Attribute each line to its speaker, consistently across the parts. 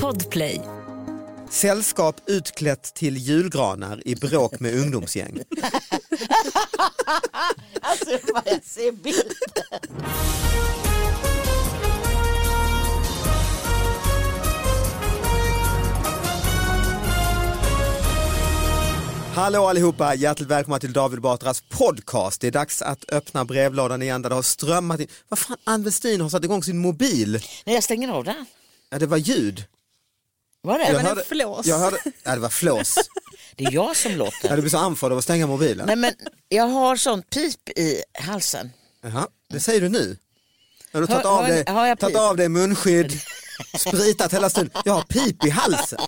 Speaker 1: Podplay.
Speaker 2: Sällskap utklätt till julgranar i bråk med ungdomsgäng.
Speaker 3: Alltså vad jag ser bilder.
Speaker 2: Hallå allihopa, hjärtligt välkomna till David Batras podcast. Det är dags att öppna brevlådan igen där det har strömmat in. Vad fan, Ann Westin har satt igång sin mobil.
Speaker 3: Nej jag stänger av den.
Speaker 2: Ja, det var ljud.
Speaker 3: Var det?
Speaker 2: Jag
Speaker 4: en flås.
Speaker 2: Jag hörde, ja, det var flås.
Speaker 3: Det är jag som
Speaker 2: Jag
Speaker 3: låter.
Speaker 2: hade blivit så andfådd av att stänga mobilen.
Speaker 3: Nej men jag har sånt pip i halsen.
Speaker 2: Jaha, det säger du nu. Har du tagit
Speaker 3: Har-
Speaker 2: av
Speaker 3: har-
Speaker 2: dig,
Speaker 3: har jag
Speaker 2: tagit
Speaker 3: pip?
Speaker 2: av dig munskydd, spritat hela stunden. Jag har pip i halsen.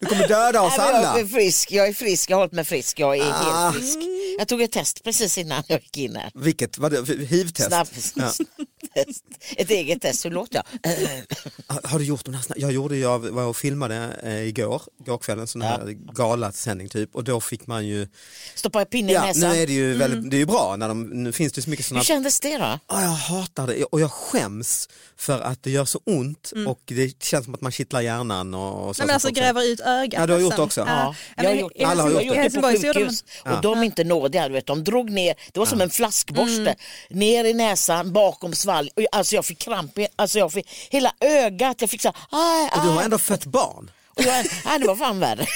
Speaker 2: Du kommer döda oss
Speaker 3: Nej, men
Speaker 2: alla.
Speaker 3: jag är frisk, jag är frisk, jag har hållit mig frisk, jag är
Speaker 2: Ah.
Speaker 3: helt frisk. Jag tog ett test precis innan jag gick in här.
Speaker 2: Vilket, vad det, hivtest?
Speaker 3: Snabb,
Speaker 2: Ja.
Speaker 3: test. Ett eget test, hur låter jag?
Speaker 2: Har- Har du gjort de här snabba? Jag gjorde, jag var och filmade eh, igår, igår kväll, en sån här galasändning typ och då fick man ju,
Speaker 3: Stoppar jag pinnen i
Speaker 2: ja nu
Speaker 3: näsan?
Speaker 2: är det
Speaker 4: Mm.
Speaker 2: ju väldigt, det är ju bra när de, nu finns det ju så mycket såna
Speaker 3: Hur kändes det då?
Speaker 2: Ah, jag hatar det och jag skäms för att det gör så ont och det känns som att man kittlar hjärnan och, och så.
Speaker 4: Mm. Nej, men alltså
Speaker 2: Också.
Speaker 4: gräver ut ögat.
Speaker 2: Ja, du har gjort
Speaker 4: nästan.
Speaker 2: också.
Speaker 3: Ja, jag
Speaker 4: men
Speaker 3: har
Speaker 4: i-
Speaker 3: gjort
Speaker 4: i
Speaker 3: det.
Speaker 2: Alla har gjort
Speaker 4: Helsingborg-
Speaker 2: det.
Speaker 3: Jag
Speaker 4: i
Speaker 3: har gjort
Speaker 4: Helsingborg
Speaker 3: det
Speaker 4: så
Speaker 3: på
Speaker 4: gjorde de-
Speaker 3: sjukhus och de är inte nådiga. Du vet. De drog ner, det var som en flaskborste,
Speaker 2: Mm.
Speaker 3: ner i näsan, bakom svalg. Och jag- Alltså jag fick kramp, i- alltså jag fick hela ögat, jag fick så här, aj,
Speaker 2: Och du har
Speaker 3: aj.
Speaker 2: ändå fött barn.
Speaker 3: Och jag, aj, det var fan värre.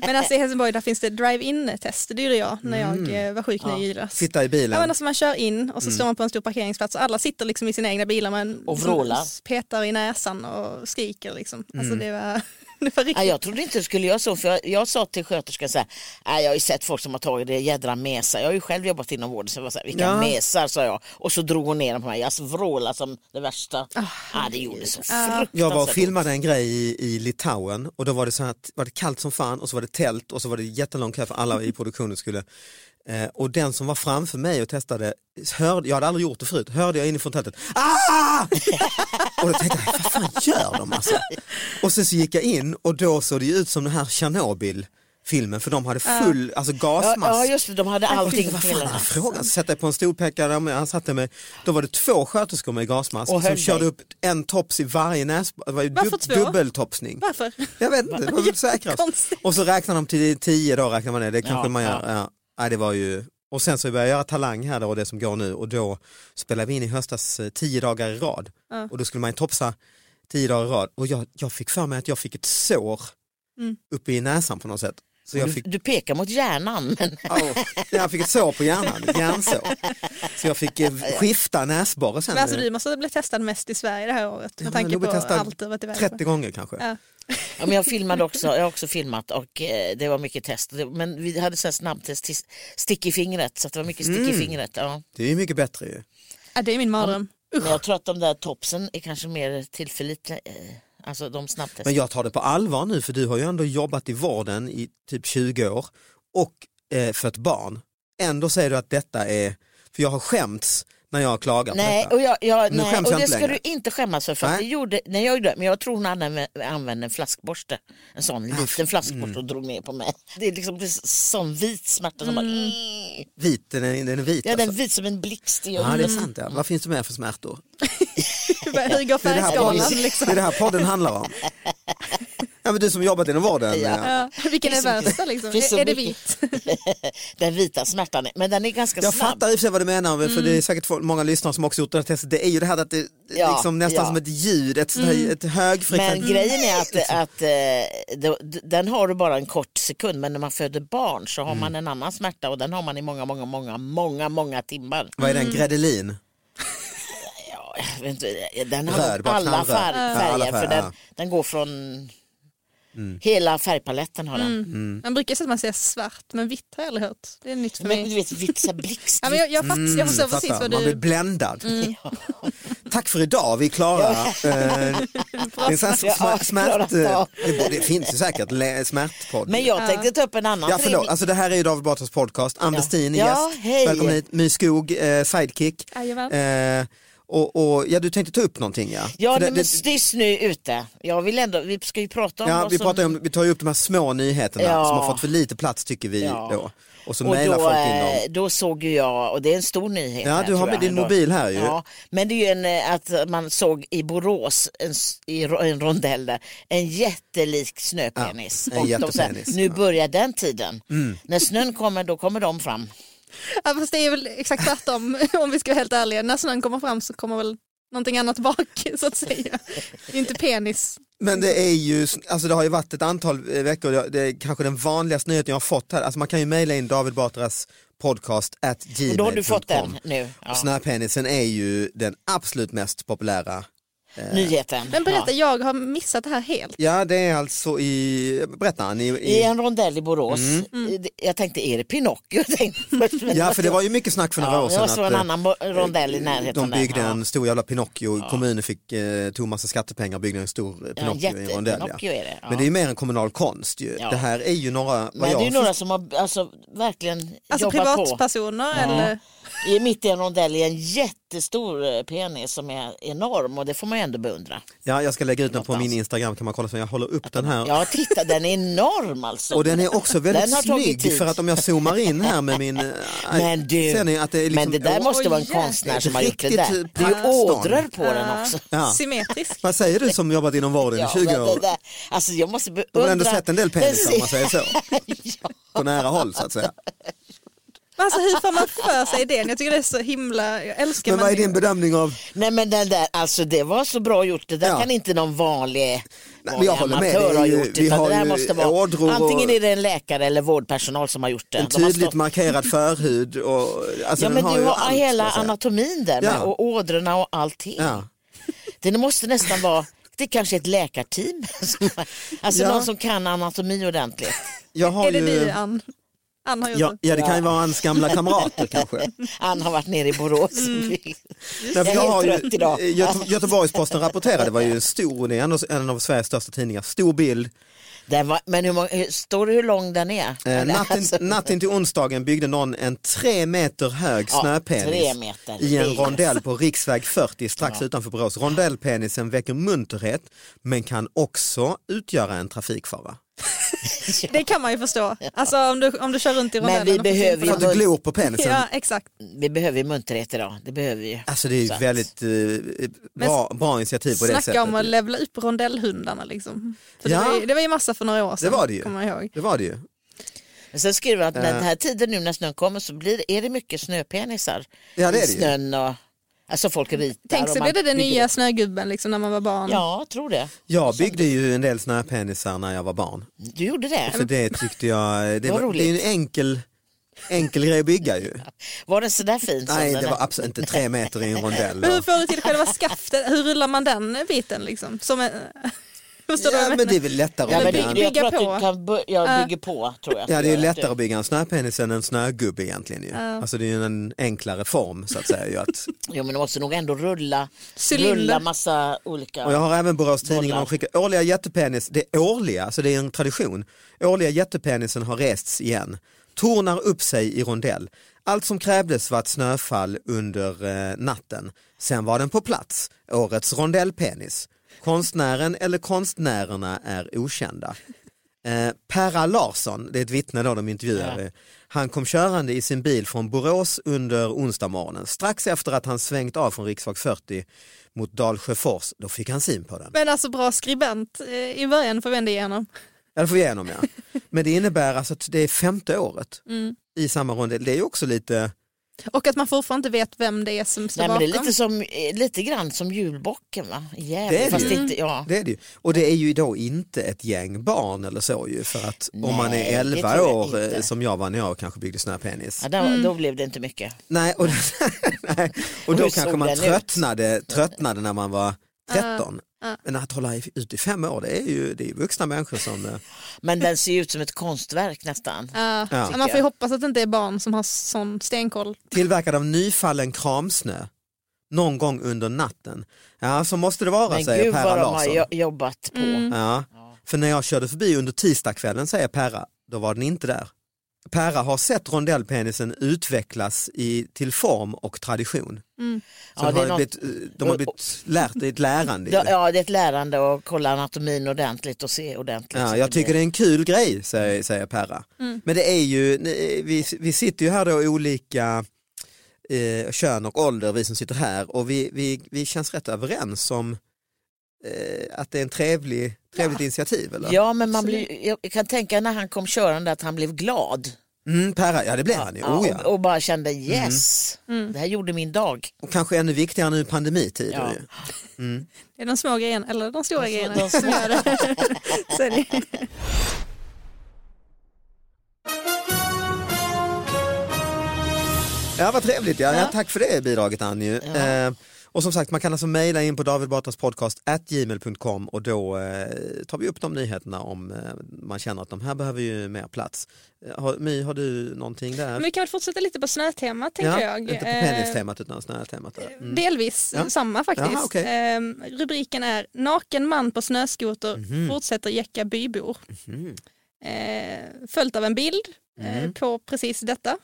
Speaker 4: Men alltså i Helsingborg där finns det drive-in test, det gjorde jag när jag eh, var sjuk nu i julas.
Speaker 2: Sitta i
Speaker 4: Ja, men
Speaker 2: bilen.
Speaker 4: alltså man kör in och så står man på en stor parkeringsplats och alla sitter liksom i sina egna bilar men
Speaker 3: Och vrålar.
Speaker 4: petar i näsan och skriker liksom. Alltså det var, det var riktigt.
Speaker 3: Nej, jag trodde inte du skulle göra så för jag, jag sa till sköterskan så här, "Nej, jag har ju sett folk som har tagit det jädra mesar. Jag har ju själv jobbat inom vården så jag var så här, vilka
Speaker 2: Ja.
Speaker 3: mesar sa jag. Och så drog hon ner dem på mig, jag alltså, vrålade som det värsta. ja, det gjorde så fruktansvärt
Speaker 2: Jag var och
Speaker 3: ont.
Speaker 2: filmade en grej i, i Litauen och då var det så här att var det kallt som fan och så var det tält och så var det jättelång kö för alla i produktionen skulle eh, och den som var framför mig och testade, hörde, jag hade aldrig gjort det förut, hörde jag inifrån tältet ah! Och då tänkte jag, vad fan gör de alltså? Och sen så gick jag in och då såg det ju ut som den här Tjernobyl filmen för de hade full alltså
Speaker 3: Ja,
Speaker 2: gasmask.
Speaker 3: ja just det, de hade allting på
Speaker 2: Vad fan är
Speaker 3: hela.
Speaker 2: frågan? Sätta dig på en stolpekare, men han satte mig, då var det två sköterskor med gasmask
Speaker 3: Och höll
Speaker 2: som
Speaker 3: dig.
Speaker 2: körde upp en tops i varje näs, det var ju
Speaker 4: Varför
Speaker 2: dub-
Speaker 4: två?
Speaker 2: dubbeltopsning.
Speaker 4: Varför?
Speaker 2: Jag vet inte, det var väl säkrast.
Speaker 4: Jättekonstigt.
Speaker 2: Och så räknar de till tio då, räknar man det, det kanske
Speaker 3: Ja,
Speaker 2: man gör. Ja.
Speaker 3: ja.
Speaker 2: Nej, det var ju... Och sen så började jag göra Talang här då, och det som går nu och då spelade vi in i höstas eh, tio dagar i rad och då skulle man ju topsa tio dagar i rad och jag, jag fick för mig att jag fick ett sår uppe i näsan på något sätt. Så jag
Speaker 3: Du,
Speaker 2: fick
Speaker 3: du pekar mot hjärnan men
Speaker 2: Oh, jag fick ett sår på hjärnan, ett hjärnsår. Så jag fick eh, skifta näsborre sen. eh,
Speaker 4: Men alltså du måste ha blivit testad mest i Sverige det här året med
Speaker 2: Ja,
Speaker 4: tanke
Speaker 2: jag
Speaker 4: på
Speaker 2: blev testad
Speaker 4: allt du varit iväg på.
Speaker 2: 30 gånger kanske.
Speaker 4: Ja.
Speaker 3: Ja, men jag filmade också, jag har också filmat och eh, det var mycket test. Det- Men vi hade så här snabbtest, till stick i fingret, så att det var mycket stick
Speaker 2: Mm.
Speaker 3: i fingret. Ja.
Speaker 2: Det är ju mycket bättre ju.
Speaker 4: Ja, det är min mardröm.
Speaker 3: Men jag tror att de där topsen är kanske mer tillförlitliga, eh, alltså de
Speaker 2: Men
Speaker 3: snabbtesten.
Speaker 2: jag tar det på allvar nu för du har ju ändå jobbat i vården i typ 20 år och eh, fött barn. Ändå säger du att detta är, för jag har skämts när jag har klagat på
Speaker 3: Nej,
Speaker 2: detta.
Speaker 3: och, jag, jag,
Speaker 2: Nu
Speaker 3: nej,
Speaker 2: skäms
Speaker 3: och
Speaker 2: jag
Speaker 3: det
Speaker 2: inte
Speaker 3: ska
Speaker 2: längre.
Speaker 3: du inte skämmas för. för att
Speaker 2: Nej.
Speaker 3: det gjorde, nej, jag gjorde det, men jag tror hon använde, använde en flaskborste. En sån liten flaskborste
Speaker 2: Mm.
Speaker 3: och drog ner på mig. Det är liksom det är sån vit smärta som bara...
Speaker 2: Mm. Vit, den är, den är vit
Speaker 3: Ja, den är
Speaker 2: alltså.
Speaker 3: vit som en blixt. i
Speaker 2: Ja det är
Speaker 3: ögonen.
Speaker 2: sant ja. Vad finns det mer för smärtor?
Speaker 4: Hur går
Speaker 2: Det är det här podden,
Speaker 4: färgskalan liksom?
Speaker 2: det är det här podden handlar om. Ja, men du som jobbat inom vården. eh,
Speaker 4: Ja, vilken är
Speaker 3: Det är så
Speaker 4: värsta liksom?
Speaker 3: Det är så
Speaker 4: Är, är det
Speaker 3: mycket.
Speaker 4: vit?
Speaker 3: den vita smärtan, är- men den är ganska
Speaker 2: Jag
Speaker 3: snabb. Mm.
Speaker 2: fattar i och för sig vad du menar, för det är säkert folk- många lyssnare som också gjort det här testet. Det är ju det här att det det är
Speaker 3: Ja,
Speaker 2: liksom nästan
Speaker 3: ja. Mm.
Speaker 2: som ett ljud, ett, sånt här, ett
Speaker 3: Men
Speaker 2: högfrekvent...
Speaker 3: grejen är att,
Speaker 2: Mm.
Speaker 3: att eh, det- den har du bara en kort sekund men när man föder barn så har
Speaker 2: Mm.
Speaker 3: man en annan smärta och den har man i många, många, många, många, många timmar.
Speaker 2: Vad är den? Gredelin?
Speaker 3: Ja, jag vet inte, Eh, den har
Speaker 2: Röd, bara
Speaker 3: alla
Speaker 2: knallröd.
Speaker 3: fär,
Speaker 2: Ja, alla
Speaker 3: färger
Speaker 2: färger,
Speaker 3: för den,
Speaker 2: ja. Mm.
Speaker 3: den går från hela färgpaletten har den.
Speaker 4: Man brukar säga att man ser svart men vitt har jag aldrig hört. Det är nytt för
Speaker 3: Men du
Speaker 4: mig.
Speaker 3: vet vitt så här blixt.
Speaker 4: Ja, men jag, jag, fatt, jag förstår
Speaker 2: Mm, Fattar,
Speaker 4: precis vad
Speaker 2: Man
Speaker 4: du...
Speaker 2: blir bländad.
Speaker 3: Mm.
Speaker 2: Tack för idag, vi är klara. Eh, det är en sån här
Speaker 3: Ja,
Speaker 2: smärt, smärt,
Speaker 3: klara
Speaker 2: eh,
Speaker 3: av.
Speaker 2: det, det finns ju säkert le- smärtpodd.
Speaker 3: Men jag tänkte ta upp en annan
Speaker 2: Ja förlåt,
Speaker 3: trevlig-
Speaker 2: alltså det här är ju David Batras podcast, Ann Westin är
Speaker 3: Ja,
Speaker 2: gäst,
Speaker 3: hej.
Speaker 2: välkommen hit, My Skog, eh, sidekick.
Speaker 4: Jajamän.
Speaker 2: Eh, Och, och ja, du tänkte ta upp någonting ja.
Speaker 3: Ja,
Speaker 2: För
Speaker 3: nej, men tyst nu ute. Jag vill ändå, vi ska ju prata om
Speaker 2: ja
Speaker 3: vad
Speaker 2: vi,
Speaker 3: som...
Speaker 2: pratar ju om, vi tar ju upp de här små nyheterna
Speaker 3: Ja.
Speaker 2: som har fått för lite plats tycker vi
Speaker 3: Ja.
Speaker 2: då. Och så
Speaker 3: och
Speaker 2: mejlar
Speaker 3: då,
Speaker 2: folk in
Speaker 3: eh,
Speaker 2: dem.
Speaker 3: då såg ju jag, och det är en stor nyhet.
Speaker 2: Ja,
Speaker 3: här,
Speaker 2: du
Speaker 3: tror
Speaker 2: har med
Speaker 3: jag
Speaker 2: din
Speaker 3: ändå.
Speaker 2: mobil här ju.
Speaker 3: Ja, men det är ju en, eh, att man såg i Borås, en, s- i ro- en rondell där, en jättelik snöpenis.
Speaker 2: Ja, en
Speaker 3: Och de sa,
Speaker 2: jättepenis.
Speaker 3: nu
Speaker 2: Ja. Mm.
Speaker 3: börjar den tiden. När snön kommer, då kommer de fram.
Speaker 4: Ja, fast det är väl exakt tvärtom om vi ska vara helt ärliga. När snön kommer fram så kommer väl någonting annat bak så att säga. Inte penis.
Speaker 2: Men det är ju, alltså det har ju varit ett antal eh, veckor, Jag- det är kanske den vanligaste nyheten jag har fått här. Alltså man kan ju mejla in David Batras podcast at gmail.com.
Speaker 3: Och då har du fått den nu. Ja.
Speaker 2: Och snöpenisen är ju den absolut mest populära.
Speaker 3: Nyheten.
Speaker 4: Men
Speaker 3: ja.
Speaker 4: berätta, jag har missat det här helt.
Speaker 2: Ja det är alltså i, berätta Ann, i,
Speaker 3: I
Speaker 2: i,
Speaker 3: en rondell i Borås.
Speaker 4: Mm.
Speaker 3: Det- Jag tänkte, är det Pinocchio? Jag tänkte-
Speaker 2: Mm. ja för det var ju mycket snack för några
Speaker 3: Ja,
Speaker 2: år
Speaker 3: det
Speaker 2: sedan.
Speaker 3: måste vara en
Speaker 2: eh,
Speaker 3: annan bo- rondell i närheten.
Speaker 2: De byggde
Speaker 3: där.
Speaker 2: en stor jävla Pinocchio, kommunen fick eh, tog massa skattepengar och byggde en stor eh,
Speaker 3: ja.
Speaker 2: Pinocchio i en rondell.
Speaker 3: Pinocchio är det. Ja.
Speaker 2: Men det är ju mer en kommunal konst ju.
Speaker 3: Ja.
Speaker 2: Det här är ju några, vad
Speaker 3: Men det är ju
Speaker 2: jag
Speaker 3: några som har alltså, verkligen
Speaker 4: Alltså
Speaker 3: jobbat på.
Speaker 4: privatpersoner eller?
Speaker 3: I mitt i en rondell är en jättestor eh, penis som är enorm och det får man ju ändå beundra.
Speaker 2: Ja, jag ska lägga ut den på min
Speaker 3: Någonstans.
Speaker 2: Instagram kan man kolla så jag håller upp den här.
Speaker 3: Ja titta den är enorm alltså.
Speaker 2: Och den är också väldigt
Speaker 3: Den har tagit
Speaker 2: snygg
Speaker 3: tid.
Speaker 2: för att om jag zoomar in här med min... eh,
Speaker 3: Men du,
Speaker 2: ser ni att det är liksom,
Speaker 3: Men det där
Speaker 2: Åh,
Speaker 3: måste vara en
Speaker 4: Oj, jäklar.
Speaker 3: konstnär som har gjort det
Speaker 2: Riktigt,
Speaker 3: där.
Speaker 2: eh,
Speaker 3: Det är ju
Speaker 2: pärlstånd.
Speaker 3: ådror på den
Speaker 4: Ja.
Speaker 3: också.
Speaker 2: Ja.
Speaker 4: eh, Symmetrisk.
Speaker 2: Vad säger du som jobbat inom vården i
Speaker 3: Ja,
Speaker 2: 20
Speaker 3: men det
Speaker 2: år?
Speaker 3: där- alltså jag måste beundra.
Speaker 2: Du har ändå sett en del
Speaker 3: Den
Speaker 2: penisar om man
Speaker 3: ser-
Speaker 2: säger så. På nära håll så att säga.
Speaker 4: Men Alltså hur får man för sig den? Jag tycker det är så himla, jag älskar
Speaker 2: Men vad är din
Speaker 4: människor.
Speaker 2: bedömning av...
Speaker 3: Nej men den där, alltså det var så bra gjort. Det där
Speaker 2: Ja.
Speaker 3: kan inte någon vanlig,
Speaker 2: men
Speaker 3: vanlig
Speaker 2: jag håller med.
Speaker 3: amatör
Speaker 2: Det är
Speaker 3: ha
Speaker 2: ju-
Speaker 3: gjort.
Speaker 2: vi
Speaker 3: Utan
Speaker 2: har
Speaker 3: det där
Speaker 2: ju
Speaker 3: måste
Speaker 2: ådror och-
Speaker 3: vara, antingen är det en läkare eller vårdpersonal som har gjort det.
Speaker 2: En
Speaker 3: De har
Speaker 2: tydligt
Speaker 3: stått-
Speaker 2: markerad förhud och... Alltså,
Speaker 3: Ja
Speaker 2: den
Speaker 3: men
Speaker 2: har
Speaker 3: du
Speaker 2: ju
Speaker 3: har
Speaker 2: allt,
Speaker 3: hela
Speaker 2: så att säga.
Speaker 3: anatomin där
Speaker 2: Ja.
Speaker 3: med, och ådrorna och allting.
Speaker 2: Ja.
Speaker 3: Det måste nästan vara, det kanske är ett läkarteam. som- alltså
Speaker 2: Ja.
Speaker 3: någon som kan anatomi ordentligt.
Speaker 2: Jag har
Speaker 4: Är det
Speaker 2: ju...
Speaker 4: du Ann? Ann har gjort
Speaker 2: Ja,
Speaker 4: den.
Speaker 2: ja, det kan ju vara hans gamla kamrater kanske.
Speaker 3: Han har varit nere i Borås.
Speaker 2: Mm. Nej, för
Speaker 3: Jag är
Speaker 2: har
Speaker 3: helt trött idag.
Speaker 2: eh, Göte- Göteborgs-Posten rapporterade, det var ju en stor, det är en av- en av Sveriges största tidningar, stor bild.
Speaker 3: Den var, men hur många, hur- står det hur lång den är?
Speaker 2: Eh,
Speaker 3: Eller,
Speaker 2: natten,
Speaker 3: alltså-
Speaker 2: natten till onsdagen byggde någon en tre meter hög
Speaker 3: Ja,
Speaker 2: snöpenis
Speaker 3: tre meter.
Speaker 2: i
Speaker 3: Det
Speaker 2: en
Speaker 3: är-
Speaker 2: rondell på riksväg 40 strax utanför Borås. Rondellpenisen väcker munterhet men kan också utgöra en trafikfara.
Speaker 4: Det kan man ju förstå. Alltså om du, om du kör runt i
Speaker 3: Men vi
Speaker 4: rondellen. och får syn
Speaker 3: behöver ju
Speaker 4: på
Speaker 2: För
Speaker 4: den.
Speaker 2: att du glor på penisen.
Speaker 4: Ja exakt.
Speaker 3: Vi behöver ju munterhet idag, det behöver vi ju.
Speaker 2: Alltså det är ju
Speaker 3: Så att-
Speaker 2: väldigt eh, bra, bra initiativ på det
Speaker 4: Snacka om att
Speaker 2: sättet.
Speaker 4: levla upp rondellhundarna liksom. För
Speaker 2: Ja.
Speaker 4: det, var ju, det var ju massa för några år sedan.
Speaker 2: var det ju.
Speaker 4: Kommer jag ihåg.
Speaker 2: Det var det ju.
Speaker 3: Men sen skriver han att
Speaker 2: Eh.
Speaker 3: den här tiden nu när snön kommer så blir, det- är det mycket snöpenisar
Speaker 2: Ja, det är
Speaker 3: i
Speaker 2: det ju.
Speaker 3: snön. Och, alltså folk ritar.
Speaker 4: Tänk
Speaker 3: och
Speaker 4: så
Speaker 3: man
Speaker 4: blev det den
Speaker 3: bygger
Speaker 4: nya
Speaker 3: upp.
Speaker 4: snögubben liksom när man var barn.
Speaker 3: Ja, jag tror det.
Speaker 2: Jag byggde ju en del snöpenisar när jag var barn.
Speaker 3: Du gjorde det.
Speaker 2: Så det tyckte jag, det,
Speaker 3: Vad
Speaker 2: var, det är ju en enkel, enkel grej att bygga ju.
Speaker 3: Var den sådär fin? som
Speaker 2: Nej
Speaker 3: den
Speaker 2: det
Speaker 3: är?
Speaker 2: var absolut inte tre meter i en rondell.
Speaker 4: Men hur
Speaker 2: Och,
Speaker 4: får du till själva skaftet? Hur rullar man den biten liksom? Som en, förstår du vad
Speaker 2: ja
Speaker 4: jag
Speaker 2: men
Speaker 4: menar?
Speaker 2: det är väl lättare
Speaker 3: ja,
Speaker 2: att
Speaker 3: men
Speaker 2: bygga
Speaker 3: det,
Speaker 2: en,
Speaker 4: det-
Speaker 3: jag tror
Speaker 4: Bygga
Speaker 3: att
Speaker 4: på.
Speaker 3: du kan bö- jag bygger på. Tror jag.
Speaker 2: ja det är ju
Speaker 3: Att
Speaker 2: lättare att
Speaker 3: du-
Speaker 2: bygga en snöpenis än en snögubbe egentligen ju. Alltså det är ju en enklare form så att säga. ju Att,
Speaker 3: Jo, men du måste nog ändå rulla,
Speaker 4: Cylinder.
Speaker 3: rulla massa olika.
Speaker 2: och jag har även Borås Tidning,
Speaker 3: Bollar.
Speaker 2: de skickar årliga jättepenis, det är årliga, alltså det är en tradition. Årliga jättepenisen har rests igen, tornar upp sig i rondell. Allt som krävdes var ett snöfall under eh, natten. Sen var den på plats, årets rondellpenis. Konstnären eller konstnärerna är okända. Eh, Perra Larsson, det är ett vittne då de intervjuar, eh, han kom körande i sin bil från Borås under onsdag morgonen. Strax efter att han svängt av från riksväg 40 mot Dalsjöfors, då fick han syn på den.
Speaker 4: Men alltså bra skribent eh, i början får vi ändå igenom.
Speaker 2: Ja, det får vi igenom ja. Men det innebär alltså att det är femte året
Speaker 3: Mm.
Speaker 2: i samma rondell. Det är ju också lite,
Speaker 4: Och att man fortfarande inte vet vem det är som står
Speaker 3: Nej, men det
Speaker 4: bakom.
Speaker 3: är lite, som, eh, lite grann som julbocken va?
Speaker 2: Det är
Speaker 3: Jävligt,
Speaker 2: det
Speaker 3: fast
Speaker 2: ju.
Speaker 3: inte, ja.
Speaker 2: det är det ju. Och det är ju då inte ett gäng barn eller så ju för att om man
Speaker 3: Nej,
Speaker 2: är
Speaker 3: det
Speaker 2: 11
Speaker 3: tror jag
Speaker 2: år eh,
Speaker 3: inte.
Speaker 2: som jag var när jag kanske byggde snöpenis.
Speaker 3: Ja, då,
Speaker 4: Mm.
Speaker 3: då blev det inte mycket.
Speaker 2: Nej, och, nej, och då
Speaker 3: Hur
Speaker 2: kanske
Speaker 3: såg
Speaker 2: man
Speaker 3: den ut?
Speaker 2: tröttnade, tröttnade när man var 13. Men att hålla i- ut i fem år, det är ju det är ju vuxna människor som... eh,
Speaker 3: Men den ser ju ut som ett konstverk nästan.
Speaker 4: Ja,
Speaker 2: Ja.
Speaker 4: men Man får ju hoppas att det inte är barn som har sån stenkoll.
Speaker 2: Tillverkad av nyfallen kramsnö någon gång under natten. Ja, så måste det vara,
Speaker 3: Men
Speaker 2: säger
Speaker 3: gud
Speaker 2: Perra
Speaker 3: vad de har Mm.
Speaker 2: Larsson.
Speaker 3: jo- jobbat på.
Speaker 4: Mm.
Speaker 2: Ja. För när jag körde förbi under tisdagskvällen, säger Perra, då var den inte där. Perra har sett rondellpenisen utvecklas i, till form och tradition.
Speaker 4: Mm.
Speaker 2: Så
Speaker 3: Ja,
Speaker 2: de,
Speaker 3: det
Speaker 2: har
Speaker 3: är något-
Speaker 2: blivit, eh, de har blivit lärt, det är ett lärande. i
Speaker 3: Ja,
Speaker 2: det.
Speaker 3: ja, det är ett lärande att kolla anatomin ordentligt och se ordentligt.
Speaker 2: Ja, jag tycker det Mm. är en kul grej, säger, säger Perra. Men det är ju, nej, vi, vi sitter ju här då i olika eh, kön och ålder, vi som sitter här, och vi, vi, vi känns rätt överens om eh, att det är en trevlig, trevligt initiativ. Eller?
Speaker 3: Ja, men man blir, jag kan tänka när han kom körande att han blev glad.
Speaker 2: Mm, Perra, ja det blev han ju. Oh, ja.
Speaker 3: och, och bara kände yes,
Speaker 4: Mm.
Speaker 3: det här gjorde min dag.
Speaker 2: Och kanske ännu viktigare nu i pandemitider.
Speaker 3: Ja.
Speaker 2: Ju.
Speaker 4: Det är de små grejerna, eller de stora grejerna.
Speaker 3: Alltså, de
Speaker 4: som gör det. Så är det.
Speaker 2: Ja, vad trevligt. Ja. Ja. tack för det bidraget Annie. Eh, och som sagt, man kan alltså mejla in på David Batras podcast at gmail.com och då eh, tar vi upp de nyheterna om eh, man känner att de här behöver ju mer plats. Eh, Har, My, har du någonting där?
Speaker 4: Men vi kan väl fortsätta lite på snötemat tänker
Speaker 2: ja,
Speaker 4: jag.
Speaker 2: Inte på
Speaker 4: Eh,
Speaker 2: pennistemat utan snötemat. där. Mm.
Speaker 4: Delvis
Speaker 2: Ja.
Speaker 4: samma faktiskt.
Speaker 2: Jaha, okej.
Speaker 4: Ehm, rubriken är Naken man på snöskoter fortsätter jäcka bybor.
Speaker 2: Mhm.
Speaker 4: Ehm, följt av en bild eh, på precis detta.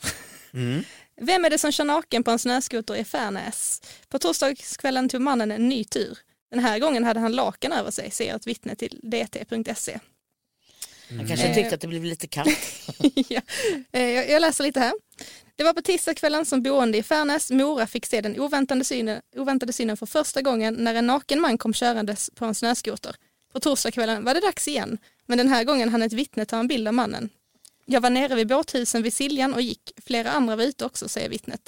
Speaker 2: Mm.
Speaker 4: Vem är det som kör naken på en snöskoter i Färnäs? På torsdagskvällen tog mannen en ny tur. Den här gången hade han lakan över sig, säger ett vittne till dt.se.
Speaker 3: Han kanske
Speaker 4: Mm.
Speaker 3: tyckte att det blev lite kallt.
Speaker 4: ja. Eh, jag, jag läser lite här. Det var på tisdagskvällen som boende i Färnäs, Mora, fick se den oväntade synen, oväntade synen för första gången när en naken man kom körandes på en snöskoter. På torsdagskvällen var det dags igen, men den här gången hann ett vittne ta en bild av mannen. Jag var nere vid båthusen vid Siljan och gick. Flera andra var ute också, säger vittnet.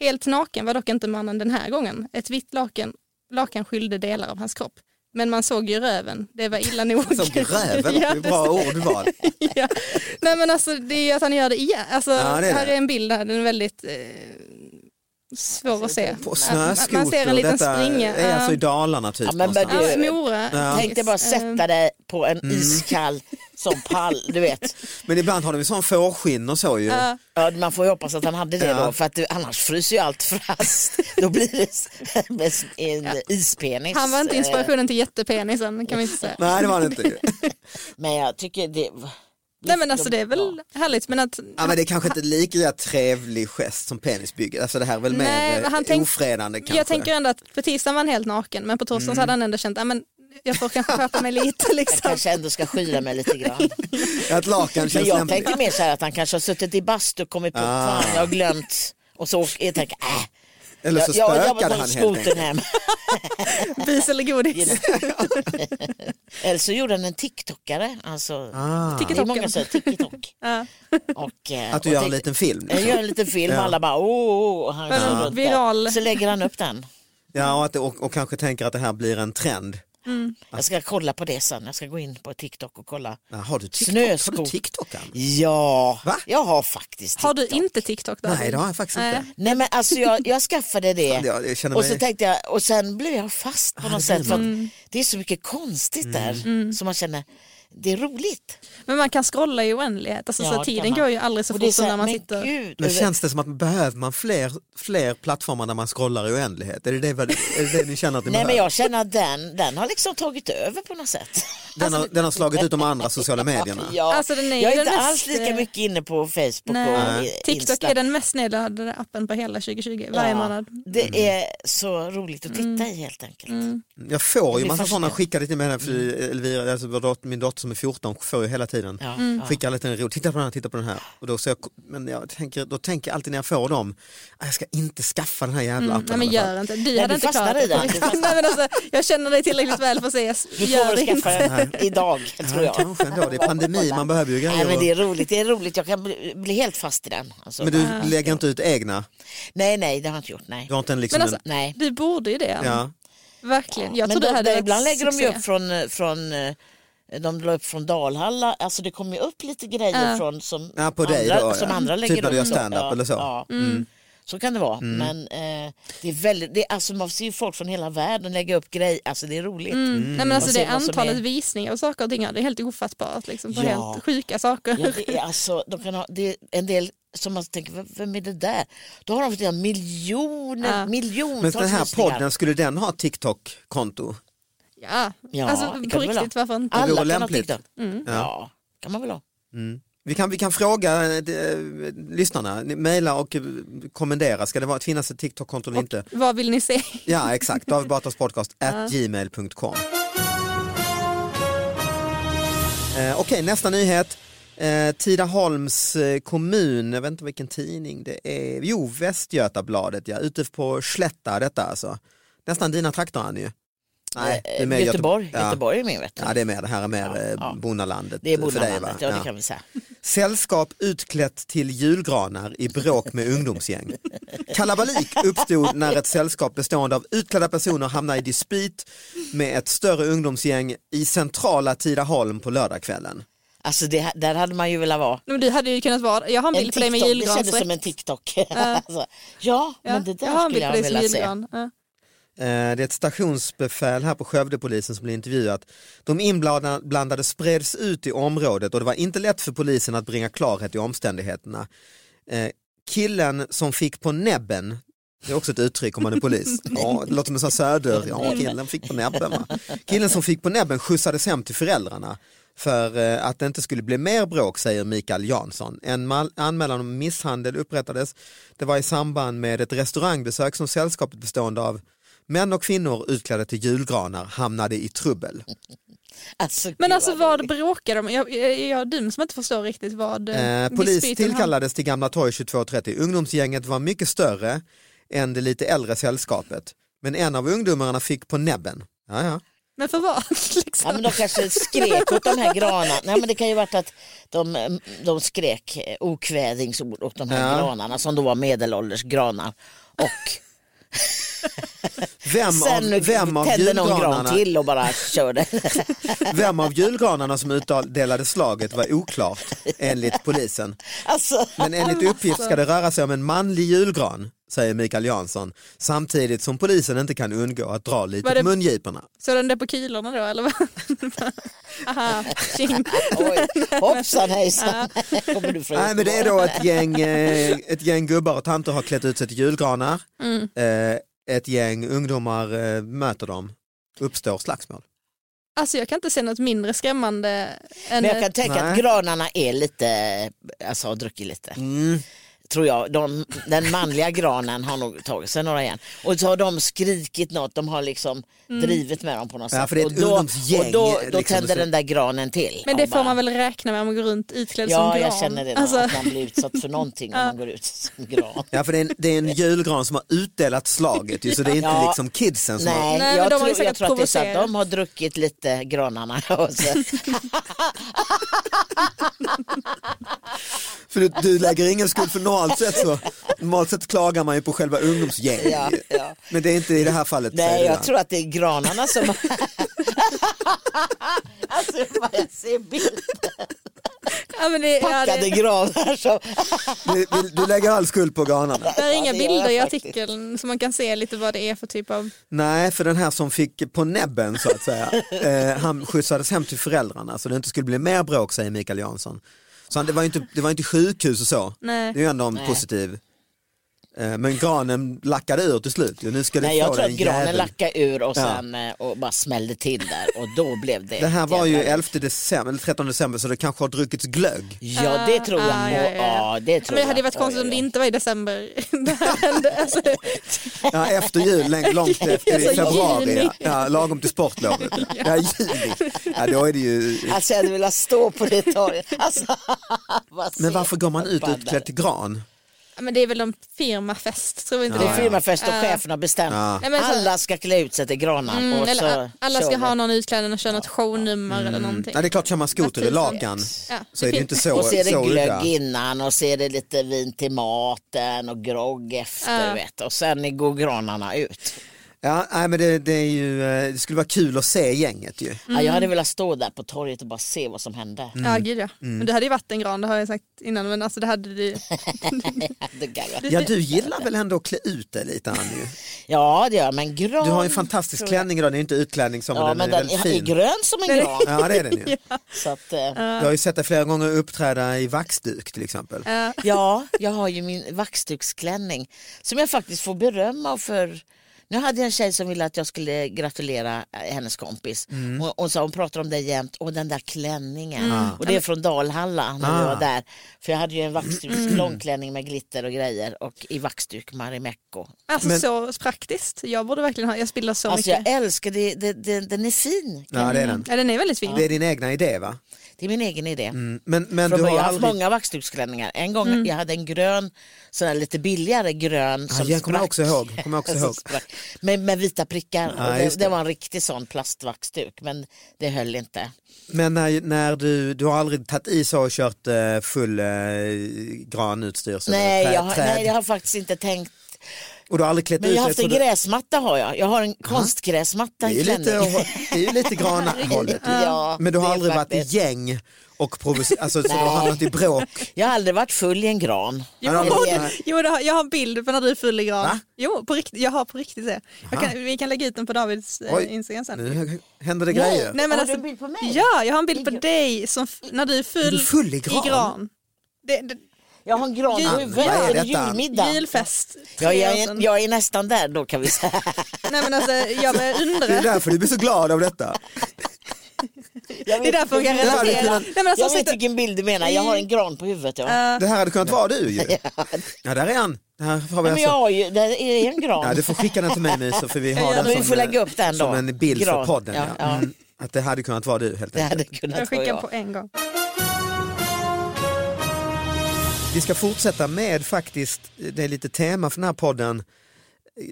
Speaker 4: Helt naken var dock inte mannen den här gången. Ett vitt lakan, lakan skylde delar av hans kropp. Men man såg ju röven. Det var illa nog.
Speaker 2: Som Alltså, gräven, det är bra ordval.
Speaker 4: ja. Nej men alltså det är ju att han gör det igen. Alltså,
Speaker 2: Ja, det är
Speaker 4: här
Speaker 2: det.
Speaker 4: är en bild här, den är väldigt eh, svår att se.
Speaker 2: Alltså, På
Speaker 4: man- man ser
Speaker 2: snöskoter,
Speaker 4: en liten
Speaker 2: detta
Speaker 4: springa.
Speaker 2: är alltså i
Speaker 4: Ja.
Speaker 2: Dalarna typ.
Speaker 3: Ja, men
Speaker 2: någonstans.
Speaker 3: det-
Speaker 4: Ja, Mora. Eh,
Speaker 2: Ja. Mm.
Speaker 3: Tänk dig bara sätta dig på en iskall som pall, du vet.
Speaker 2: Men ibland har de ju sån fårskinn och så ju.
Speaker 4: Ja.
Speaker 3: Ja, man får ju hoppas att han hade det
Speaker 2: Ja.
Speaker 3: då, för att du, annars fryser ju allt fast. Då blir det s- med s- en ispenis.
Speaker 4: Han var inte
Speaker 3: Eh,
Speaker 4: inspirationen till jättepenisen kan vi inte säga.
Speaker 2: Nej det var det inte. ju.
Speaker 3: Men jag tycker det...
Speaker 4: Nej men alltså det är
Speaker 3: Ja.
Speaker 4: väl härligt men att
Speaker 2: Ja, men det är kanske inte lika trevlig gest som penisbygget, alltså det här är väl
Speaker 4: Nej,
Speaker 2: mer
Speaker 4: men han
Speaker 2: han
Speaker 4: tänk-
Speaker 2: ofredande kanske.
Speaker 4: jag tänker ändå att på tisdagen var han helt naken men på torsdagen
Speaker 3: Mm.
Speaker 4: så hade han ändå känt att men jag får kanske skärpa mig lite
Speaker 3: Jag
Speaker 4: liksom.
Speaker 3: kanske ändå ska skyla mig lite grann.
Speaker 2: Att lakan
Speaker 3: Men
Speaker 2: känns
Speaker 3: jag
Speaker 2: lämpligt.
Speaker 3: tänkte mer så här att han kanske har suttit i bastu och kommit på
Speaker 2: Ah.
Speaker 3: fan jag har glömt. Och så åker- jag tänker äh,
Speaker 2: Eller så
Speaker 3: jag, jag, jag
Speaker 2: spökade
Speaker 3: var
Speaker 2: han
Speaker 3: på
Speaker 2: helt
Speaker 3: skotern
Speaker 2: enkelt.
Speaker 3: hem.
Speaker 4: Bis eller godis.
Speaker 3: Eller så gjorde han en TikTokare. Alltså,
Speaker 2: Ah,
Speaker 3: det är många som säger TikTok.
Speaker 4: Ja.
Speaker 3: Och, eh,
Speaker 2: att du
Speaker 3: och
Speaker 2: gör en
Speaker 3: tänk-
Speaker 2: liten film.
Speaker 3: Jag
Speaker 2: Liksom.
Speaker 3: gör en liten film och alla bara åh, åh, åh. Han
Speaker 4: Ja.
Speaker 3: kör runt där.
Speaker 4: Viral.
Speaker 3: Så lägger han upp den.
Speaker 2: Ja, och, att, det- och, och kanske tänker att det här blir en trend.
Speaker 3: Jag ska kolla på det sen. Jag ska gå in på TikTok och kolla.
Speaker 2: Ja, har du TikTok?
Speaker 3: Snöskot.
Speaker 2: Har du TikTok Ann?
Speaker 3: Ja,
Speaker 2: Va?
Speaker 3: jag har faktiskt
Speaker 4: Har du
Speaker 3: TikTok.
Speaker 4: inte TikTok då?
Speaker 2: Nej det har jag faktiskt inte.
Speaker 4: Nej.
Speaker 3: Nej men alltså jag, jag skaffade det.
Speaker 2: Jag, jag känner
Speaker 3: Och så
Speaker 2: mig...
Speaker 3: tänkte jag, och sen blev jag fast på
Speaker 2: Ah,
Speaker 3: något
Speaker 2: det Mm. blir
Speaker 3: sätt för
Speaker 4: Mm.
Speaker 3: att det är så mycket konstigt där som man känner, det är roligt.
Speaker 4: Men man kan scrolla i oändlighet, alltså,
Speaker 3: Ja,
Speaker 4: så
Speaker 3: det
Speaker 4: tiden
Speaker 3: kan man.
Speaker 4: går ju aldrig så
Speaker 3: och det är
Speaker 4: fort
Speaker 3: så
Speaker 4: som
Speaker 3: här,
Speaker 4: när man
Speaker 3: men
Speaker 4: sitter
Speaker 3: Gud,
Speaker 2: Men
Speaker 3: över-
Speaker 2: känns det som att behöver man fler, fler plattformar där man scrollar i oändlighet? Är det det, vad- är det, det ni känner att ni
Speaker 3: Nej men
Speaker 2: behöver?
Speaker 3: jag känner att den, den har liksom tagit över på något sätt.
Speaker 2: Den, har, den har slagit ut de andra sociala medierna.
Speaker 3: alltså, Ja,
Speaker 4: Alltså, den är ju
Speaker 3: jag är
Speaker 4: den
Speaker 3: inte
Speaker 4: mest,
Speaker 3: alls lika
Speaker 4: eh,
Speaker 3: mycket inne på Facebook och
Speaker 4: Nej.
Speaker 3: i-
Speaker 4: Eh, TikTok
Speaker 3: Insta.
Speaker 4: är den mest nedladdade appen på hela 2020
Speaker 3: Ja,
Speaker 4: varje månad.
Speaker 2: Mm.
Speaker 4: Mm.
Speaker 3: Det är så roligt att titta i helt enkelt.
Speaker 2: Jag får ju
Speaker 3: blir
Speaker 2: massa sådana
Speaker 3: fascinerad.
Speaker 2: skickade till mig, här, för Elvira, alltså vår dot- min dotter som är 14 får ju hela tiden.
Speaker 3: Mm. Ja,
Speaker 4: Mm.
Speaker 3: ja.
Speaker 2: Skickar lite en ro, titta på den här, titta på den här. Och då, så jag, men jag tänker, då tänker jag alltid när jag får dem, "Ah, jag ska inte skaffa den här jävla appen.
Speaker 4: Mm, Nej men
Speaker 2: i alla fall."
Speaker 4: gör inte, du
Speaker 3: du
Speaker 4: hade inte
Speaker 3: fastnar
Speaker 4: klarat
Speaker 3: i den. Du fastnar.
Speaker 4: Nej, men alltså, jag känner dig tillräckligt väl för att säga
Speaker 3: Du får
Speaker 4: gör det
Speaker 3: väl
Speaker 4: inte.
Speaker 3: skaffa den idag tror
Speaker 2: Ja,
Speaker 3: jag.
Speaker 2: kanske ändå, det är pandemi, man behöver ju
Speaker 3: Nej,
Speaker 2: grejer.
Speaker 3: men det är roligt, det är roligt. Jag kan bli, bli helt fast i den. Alltså,
Speaker 2: men du lägger inte ut egna?
Speaker 3: Nej, nej, det har jag inte gjort. Nej.
Speaker 2: Du har inte en liksom
Speaker 4: Men alltså, mm.
Speaker 2: en,
Speaker 3: nej.
Speaker 4: du borde ju det.
Speaker 2: ja.
Speaker 4: Verkligen. Jag
Speaker 3: men
Speaker 4: trodde
Speaker 3: de,
Speaker 4: det hade varit
Speaker 3: ibland lägger de ju
Speaker 4: succé.
Speaker 3: upp från, eh, från eh, de la upp från Dalhalla, alltså det kommer ju upp lite grejer
Speaker 4: Ja.
Speaker 3: från som,
Speaker 2: ja, på
Speaker 3: andra,
Speaker 2: dig då. Ja.
Speaker 3: som andra lägger
Speaker 2: typ när du gör
Speaker 3: upp.
Speaker 2: stand-up
Speaker 3: Ja,
Speaker 2: eller så. Mm.
Speaker 3: Ja.
Speaker 4: Mm.
Speaker 3: Så kan det vara, men eh, det är väldigt, det är, alltså, man ser ju folk från hela världen lägga upp grejer, alltså det är roligt.
Speaker 4: Mm. Nej, men alltså,
Speaker 3: Och
Speaker 4: det
Speaker 3: se vad som
Speaker 4: antalet
Speaker 3: är-
Speaker 4: visningar och saker och ting, ja, det är helt ofattbart. Liksom, på
Speaker 3: Ja.
Speaker 4: helt sjuka saker.
Speaker 3: Ja, det är alltså, de kan ha, det är en del som man tänker, "V- vem är det där? Då har de fått göra miljoner,
Speaker 4: Ja.
Speaker 2: Men
Speaker 4: Alltså,
Speaker 3: miljontals
Speaker 2: den här
Speaker 3: visningar.
Speaker 2: podden, skulle den ha TikTok-konto?
Speaker 4: Ja.
Speaker 3: Ja,
Speaker 4: alltså,
Speaker 3: det kan
Speaker 4: på
Speaker 3: du väl ha.
Speaker 4: riktigt, varför inte?
Speaker 2: vore
Speaker 3: Alla kan ha
Speaker 4: Mm.
Speaker 2: lämpligt.
Speaker 3: TikTok.
Speaker 2: Ja.
Speaker 3: Ja, kan man väl ha.
Speaker 2: Mm. Vi kan, vi kan fråga eh, de, lyssnarna, Ni- mejla och eh, kommendera, ska det vara, finnas ett TikTok-konto eller inte?
Speaker 4: Vad vill ni se?
Speaker 2: Ja exakt, David Batras podcast at gmail.com. Eh, Okej, nästa nyhet. Eh, Tidaholms eh, kommun, jag vet inte vilken tidning det är, jo Västgötabladet ja, ute på Slätta detta alltså. Nästan dina trakter han ju. Nej, det är mer Göte-
Speaker 3: Eh, Göteborg.
Speaker 2: Ja.
Speaker 3: Göteborg är min vet du.
Speaker 2: Ja det är mer, det här är mer
Speaker 3: Ja,
Speaker 2: eh,
Speaker 3: ja.
Speaker 2: bonnalandet
Speaker 3: Det är
Speaker 2: för dig va?
Speaker 3: bondelandet, ja, det
Speaker 2: Ja.
Speaker 3: kan vi säga.
Speaker 2: Sällskap utklätt till julgranar i bråk med ungdomsgäng. Kalabalik uppstod när ett sällskap bestående av utklädda personer hamnade i dispyt med ett större ungdomsgäng i centrala Tidaholm på lördagskvällen.
Speaker 3: Alltså det, där hade man ju velat vara.
Speaker 4: Men du hade ju kunnat vara, jag har en
Speaker 3: En
Speaker 4: bild på dig med
Speaker 3: TikTok, det kändes
Speaker 4: julgransrätt.
Speaker 3: som en TikTok. alltså, ja,
Speaker 4: Ja,
Speaker 3: men det där
Speaker 4: jag har en
Speaker 3: skulle jag
Speaker 4: bild på dig som
Speaker 3: vilja se.
Speaker 4: julgran. Ja.
Speaker 2: Eh, Det är ett stationsbefäl här på Skövdepolisen som blir intervjuat. De inblandade spreds ut i området och det var inte lätt för polisen att bringa klarhet i omständigheterna. Eh, Killen som fick på näbben, det är också ett uttryck om man är polis, ja, det låter som en sån här söder, ja killen fick på näbben. Va? Killen som fick på näbben skjutsades hem till föräldrarna för eh, att det inte skulle bli mer bråk säger Mikael Jansson. En mal- anmälan om misshandel upprättades. Det var i samband med ett restaurangbesök som sällskapet bestående av Män och kvinnor utklädda till julgranar hamnade i trubbel.
Speaker 3: Alltså,
Speaker 4: Men
Speaker 3: gud,
Speaker 4: alltså vad
Speaker 3: roligt.
Speaker 4: bråkar de Jag, jag, jag är dum som inte förstår riktigt vad
Speaker 2: Eh,
Speaker 4: dispyten
Speaker 2: polis
Speaker 4: handlar om.
Speaker 2: tillkallades till Gamla torg 22.30. Ungdomsgänget var mycket större än det lite äldre sällskapet. Men en av ungdomarna fick på näbben. Ja, ja.
Speaker 4: Men för vad? liksom?
Speaker 3: Ja, men de kanske skrek åt de här granarna. Nej, men det kan ju varit att de, de skrek eh, okvädingsord åt de här
Speaker 2: Ja.
Speaker 3: granarna som då var medelålders granar. Och
Speaker 2: Vem,
Speaker 3: sen
Speaker 2: av, vem, av
Speaker 3: tände någon gran
Speaker 2: julgranarna,
Speaker 3: till och bara körde.
Speaker 2: vem av julgranarna som utdelade slaget var oklart enligt polisen.
Speaker 3: alltså,
Speaker 2: Men enligt uppgift ska det röra sig om en manlig julgran, säger Mikael Jansson. Samtidigt som polisen inte kan undgå att dra lite
Speaker 4: Var det-
Speaker 2: på mungiporna.
Speaker 4: Så den där på kilorna då eller vad? Aha, tjing.
Speaker 3: oj, hoppsan hejsan. Kommer du från
Speaker 2: Nej men det är
Speaker 3: Göteborg?
Speaker 2: då ett gäng, eh, ett gäng gubbar och tanter har klätt ut sig till julgranar. Eh, Ett gäng ungdomar eh, möter dem, uppstår slagsmål.
Speaker 4: Alltså jag kan inte se något mindre skrämmande än
Speaker 3: Men jag kan tänka att
Speaker 2: Nej.
Speaker 3: granarna är lite, alltså har druckit lite. Tror jag. De, den manliga granen har nog tagit sig några igen. Och så har de skrikit något, de har liksom
Speaker 4: Mm.
Speaker 3: drivit med dem på något
Speaker 2: Ja,
Speaker 3: sätt.
Speaker 2: för det är ett
Speaker 3: och då,
Speaker 2: ungdomsgäng,
Speaker 3: och då, då
Speaker 2: liksom,
Speaker 3: tänder
Speaker 2: så-
Speaker 3: den där granen till.
Speaker 4: Men det
Speaker 3: Och
Speaker 4: får man väl räkna med om man går runt utklädd som
Speaker 3: Ja,
Speaker 4: gran?
Speaker 3: jag känner det.
Speaker 4: Alltså,
Speaker 3: Att man blir utsatt för någonting om man går ut som gran.
Speaker 2: Ja för det är, en, det är en julgran som har utdelat slaget ju, så det är inte
Speaker 3: Ja.
Speaker 2: liksom kidsen som har...
Speaker 3: Nej,
Speaker 4: men
Speaker 3: jag,
Speaker 4: de har ju
Speaker 3: tror, jag
Speaker 4: säkert
Speaker 3: tror att det är så att
Speaker 4: provocerat.
Speaker 3: de har druckit lite granarna. Och så,
Speaker 2: För du, du lägger ingen skuld för normalt sett så, normalt sett klagar man ju på själva ungdomsgänget.
Speaker 3: ja, ja.
Speaker 2: Men det är inte i det här fallet. säger
Speaker 3: Nej,
Speaker 2: du,
Speaker 3: jag
Speaker 2: va?
Speaker 3: tror att det är granarna som... alltså, vad jag ser bilder.
Speaker 4: ja, men det, ja,
Speaker 3: Packade
Speaker 4: det,
Speaker 3: granar som...
Speaker 2: du, du, du lägger all skuld på granarna.
Speaker 4: det är inga
Speaker 3: Ja, det gör
Speaker 4: bilder i
Speaker 3: jag faktiskt.
Speaker 4: artikeln så man kan se lite vad det är för typ av...
Speaker 2: Nej, för den här som fick på näbben så att säga, eh, han skjutsades hem till föräldrarna så det inte skulle bli mer bråk säger Mikael Jansson. Så han, det, var ju inte, det var inte sjukhus och så,
Speaker 4: Nej.
Speaker 2: det är ju ändå en
Speaker 3: Nej.
Speaker 2: positiv. Eh, men granen lackade ur till slut ju. nu ska du
Speaker 3: Nej, jag
Speaker 2: få
Speaker 3: tror
Speaker 2: dig
Speaker 3: att
Speaker 2: en
Speaker 3: granen
Speaker 2: jävel.
Speaker 3: lackade ur och
Speaker 2: Ja.
Speaker 3: sen eh, och bara smällde till där och då blev det...
Speaker 2: Det här
Speaker 3: ett
Speaker 2: var ju
Speaker 3: jävla-
Speaker 2: 11 december, eller 13 december så det kanske har druckits glögg.
Speaker 3: Ja, det tror jag.
Speaker 4: Ah,
Speaker 3: må-
Speaker 4: ja, ja, ja.
Speaker 3: ja, det tror
Speaker 4: Men det hade
Speaker 3: jag.
Speaker 4: ju varit konstigt
Speaker 3: Oj,
Speaker 4: om det
Speaker 3: oj, oj.
Speaker 4: inte var i december. det här hände. Alltså,
Speaker 2: Ja, efter jul, länge- långt efter i
Speaker 4: Alltså,
Speaker 2: februari,
Speaker 4: juni.
Speaker 2: ja, lagom till sportlovet. Ja, juni. Ja, då är det ju...
Speaker 3: Alltså jag hade velat stå på det torget. Alltså, vad
Speaker 2: Men
Speaker 3: ser
Speaker 2: varför går man
Speaker 3: jag
Speaker 2: ut
Speaker 3: på där?
Speaker 2: utklädd till gran?
Speaker 4: men det är väl en firmafest, tror inte
Speaker 2: Ja,
Speaker 3: Det
Speaker 4: det?
Speaker 3: är firmafest och chefen har bestämt.
Speaker 2: Ja.
Speaker 4: Ah. Nej, men så-
Speaker 3: Alla ska klä ut sig till granar.
Speaker 4: Mm,
Speaker 3: och
Speaker 4: eller
Speaker 3: så
Speaker 4: a- alla
Speaker 3: kör
Speaker 4: ska
Speaker 3: vi.
Speaker 4: ha någon utklädnad och köra något shownummer eller någonting.
Speaker 2: Nej, Mm. det är klart, kör man skoter i lakan
Speaker 4: Ja, det
Speaker 2: så är det
Speaker 4: finns-
Speaker 2: ju inte så
Speaker 3: Och så är det
Speaker 2: så
Speaker 3: glögg
Speaker 2: udda.
Speaker 3: innan och så är det lite vin till maten och grogg efter.
Speaker 4: Ja.
Speaker 3: Vet. Och sen går granarna ut.
Speaker 2: Ja, nej, men det, det, är ju, eh, det skulle vara kul att se gänget ju.
Speaker 3: Ja, jag hade velat stå där på torget och bara se vad som hände.
Speaker 2: Mm.
Speaker 4: Ja gud ja.
Speaker 3: Mm.
Speaker 4: Men du hade ju varit en gran, det har jag sagt innan. Men alltså det hade du...
Speaker 3: Det garvar.
Speaker 2: Ja, du gillar väl ändå att klä ut dig lite Annie?
Speaker 3: Ja det gör jag, men gran.
Speaker 2: Du har ju en fantastisk klänning idag, det är ju inte utklädning som
Speaker 3: Ja
Speaker 2: men
Speaker 3: men
Speaker 2: den,
Speaker 3: den
Speaker 2: är
Speaker 3: är, är
Speaker 2: väldigt fin.
Speaker 3: grön som en gran.
Speaker 2: Ja, det är den ju.
Speaker 3: Så att, eh,
Speaker 2: Jag har ju sett dig flera gånger uppträda i vaxduk till exempel.
Speaker 4: Ja.
Speaker 3: ja, jag har ju min vaxduksklänning som jag faktiskt får beröm av för Nu hade jag en tjej som ville att jag skulle gratulera eh, hennes kompis.
Speaker 2: Mm.
Speaker 3: Hon, hon sa hon pratar om dig jämt, och den där klänningen. Och det är från Dalhalla när vi
Speaker 2: Ah. Mm.
Speaker 3: var där. För jag hade ju en vaxduk, långklänning med glitter och grejer och i vaxduk Marimekko.
Speaker 4: Alltså
Speaker 2: Men-
Speaker 4: så praktiskt. Jag borde verkligen ha, jag spiller så
Speaker 3: Alltså jag
Speaker 4: mycket.
Speaker 3: älskar det, det, det, den är fin.
Speaker 2: Ja, det är den.
Speaker 4: Ja, den är väldigt fin.
Speaker 2: Det är din egna idé va?
Speaker 3: Det är min egen idé.
Speaker 2: Mm. Men, men
Speaker 3: Från
Speaker 2: du
Speaker 3: början,
Speaker 2: har
Speaker 3: jag har haft
Speaker 2: aldrig...
Speaker 3: många vaxduksklänningar. En gång
Speaker 4: Mm.
Speaker 3: jag hade en grön, sån här lite billigare grön
Speaker 2: Ja,
Speaker 3: som
Speaker 2: jag kommer
Speaker 3: sprack.
Speaker 2: också ihåg, kommer också
Speaker 3: Som
Speaker 2: ihåg.
Speaker 3: sprack. Med, med vita prickar.
Speaker 2: Ja,
Speaker 3: och
Speaker 2: just det.
Speaker 3: det, det var en riktig sån plastvaxduk men det höll inte.
Speaker 2: Men när, när du, du har aldrig tagit i så och kört eh, full eh, granutstyrsel?
Speaker 3: Nej
Speaker 2: eller trä-
Speaker 3: jag, har-
Speaker 2: träd,
Speaker 3: nej, jag har faktiskt inte tänkt.
Speaker 2: Och du har aldrig klätt
Speaker 3: Men
Speaker 2: ut
Speaker 3: jag har
Speaker 2: dig
Speaker 3: haft
Speaker 2: så
Speaker 3: en
Speaker 2: du-
Speaker 3: gräsmatta har jag. Jag har en
Speaker 2: Det
Speaker 3: konstgräsmatta i
Speaker 2: är ju
Speaker 3: klänning.
Speaker 2: lite, det är ju lite granhållet.
Speaker 3: Ja,
Speaker 2: Men du har
Speaker 3: det är
Speaker 2: aldrig varit i
Speaker 3: faktiskt-
Speaker 2: gäng och provocerat, alltså så du har hamnat i bråk?
Speaker 3: Jag har aldrig varit full i en gran.
Speaker 4: Jo,
Speaker 2: Ja,
Speaker 4: jo,
Speaker 2: men-
Speaker 4: jo det har, jag har bild på när du är full i gran.
Speaker 2: Va?
Speaker 4: Jo, på riktigt, jag har på riktigt det. Jag kan, vi kan lägga ut den på Davids eh,
Speaker 2: Oj.
Speaker 4: Instagram sen.
Speaker 2: Nu händer det grejer.
Speaker 4: Nej, men
Speaker 3: har
Speaker 4: alltså-
Speaker 3: du en bild på mig?
Speaker 4: Ja, jag har en bild på
Speaker 3: I gr-
Speaker 4: dig som, f- när du är full,
Speaker 2: Är du full i gran?
Speaker 4: Det, det,
Speaker 3: Jag har en gran
Speaker 4: Jul-
Speaker 3: på huvudet.
Speaker 2: Vad är
Speaker 3: Är det
Speaker 2: detta?
Speaker 3: julmiddag?
Speaker 4: Julfest.
Speaker 3: Ja,
Speaker 4: tre
Speaker 3: jag,
Speaker 4: år sedan.
Speaker 3: är, jag är nästan där då kan vi säga.
Speaker 4: Nej, men alltså, jag börjar undra.
Speaker 2: Det är därför du blir så glad av detta.
Speaker 4: Det är därför hon kan
Speaker 2: Det hade
Speaker 4: relatera.
Speaker 2: kunnat-
Speaker 4: Nej, men alltså,
Speaker 3: jag
Speaker 4: hon
Speaker 3: vet
Speaker 4: sitter,
Speaker 3: vilken bild du menar, jag har en gran på huvudet. Ja.
Speaker 4: Eh,
Speaker 2: Det här hade kunnat vara du ju. Ja, där är han. Det här har vi
Speaker 3: men jag
Speaker 2: alltså.
Speaker 3: har ju, där är en gran.
Speaker 2: Ja, du får skicka den till mig Myso för vi har
Speaker 4: Ja,
Speaker 2: den
Speaker 4: men
Speaker 3: vi
Speaker 2: som,
Speaker 3: får lägga
Speaker 2: eh,
Speaker 3: upp den
Speaker 2: som
Speaker 3: då.
Speaker 2: en bild för
Speaker 3: Gran.
Speaker 2: podden.
Speaker 3: Ja,
Speaker 2: Ja.
Speaker 3: ja.
Speaker 2: Mm. Att det hade kunnat vara du helt
Speaker 3: det hade
Speaker 2: enkelt.
Speaker 4: jag
Speaker 3: kunnat vara
Speaker 4: skickar på
Speaker 3: jag.
Speaker 4: en gång.
Speaker 2: Vi ska fortsätta med faktiskt, eh, det är lite tema för den här podden,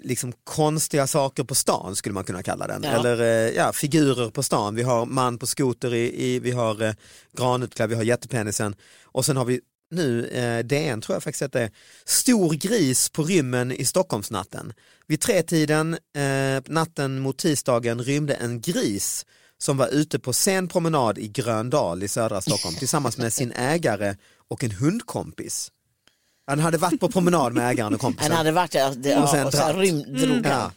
Speaker 2: liksom konstiga saker på stan skulle man kunna kalla den.
Speaker 3: Ja.
Speaker 2: Eller eh, ja, figurer på stan. Vi har man på skoter, i, i, vi har eh, granutklädd, vi har jättepenisen och sen har vi nu eh, DN tror jag faktiskt att det är, stor gris på rymmen i Stockholmsnatten. Vid tretiden eh, natten mot tisdagen rymde en gris som var ute på sen promenad i Gröndal i södra Stockholm tillsammans med sin ägare och en hundkompis. Han hade varit på promenad med ägaren och kompisen.
Speaker 3: Han hade varit där det-
Speaker 2: Och sen
Speaker 3: ja, och sen
Speaker 2: dratt.
Speaker 3: rymd, drog han.
Speaker 2: Mm. Ja.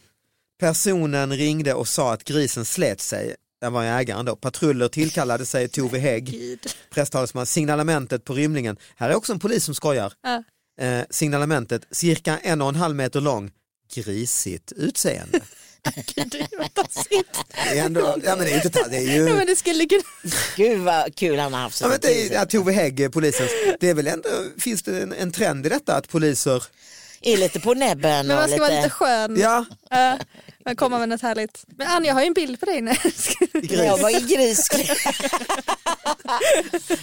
Speaker 2: Personen ringde och sa att grisen slet sig. Det var ägaren då. Patruller tillkallade sig Tove Hägg,
Speaker 4: Gud.
Speaker 2: presstalesman. Signalementet på rymlingen. Här är också en polis som skojar.
Speaker 4: Ja.
Speaker 2: Eh, signalementet, cirka en och en halv meter lång, grisigt utseende.
Speaker 4: Gud, det är ju fantastiskt.
Speaker 2: Det är ändå, ja men det är ju inte, ta- det är ju,
Speaker 4: alltså, Nej, men det skulle kunna...
Speaker 3: Gud vad kul han har haft.
Speaker 2: ja, men det är,
Speaker 3: är,
Speaker 2: ja, Tove Hägg, eh, polisen. Det är väl ändå, finns det en, en trend i detta att poliser,
Speaker 3: lite på näbben
Speaker 4: Men
Speaker 3: och
Speaker 4: man ska vara lite
Speaker 3: lite...
Speaker 4: skön.
Speaker 2: ja,
Speaker 4: Eh, man kommer med något härligt. Men Ann, jag har ju en bild på dig. Nej,
Speaker 2: gris.
Speaker 3: Jag var i gris.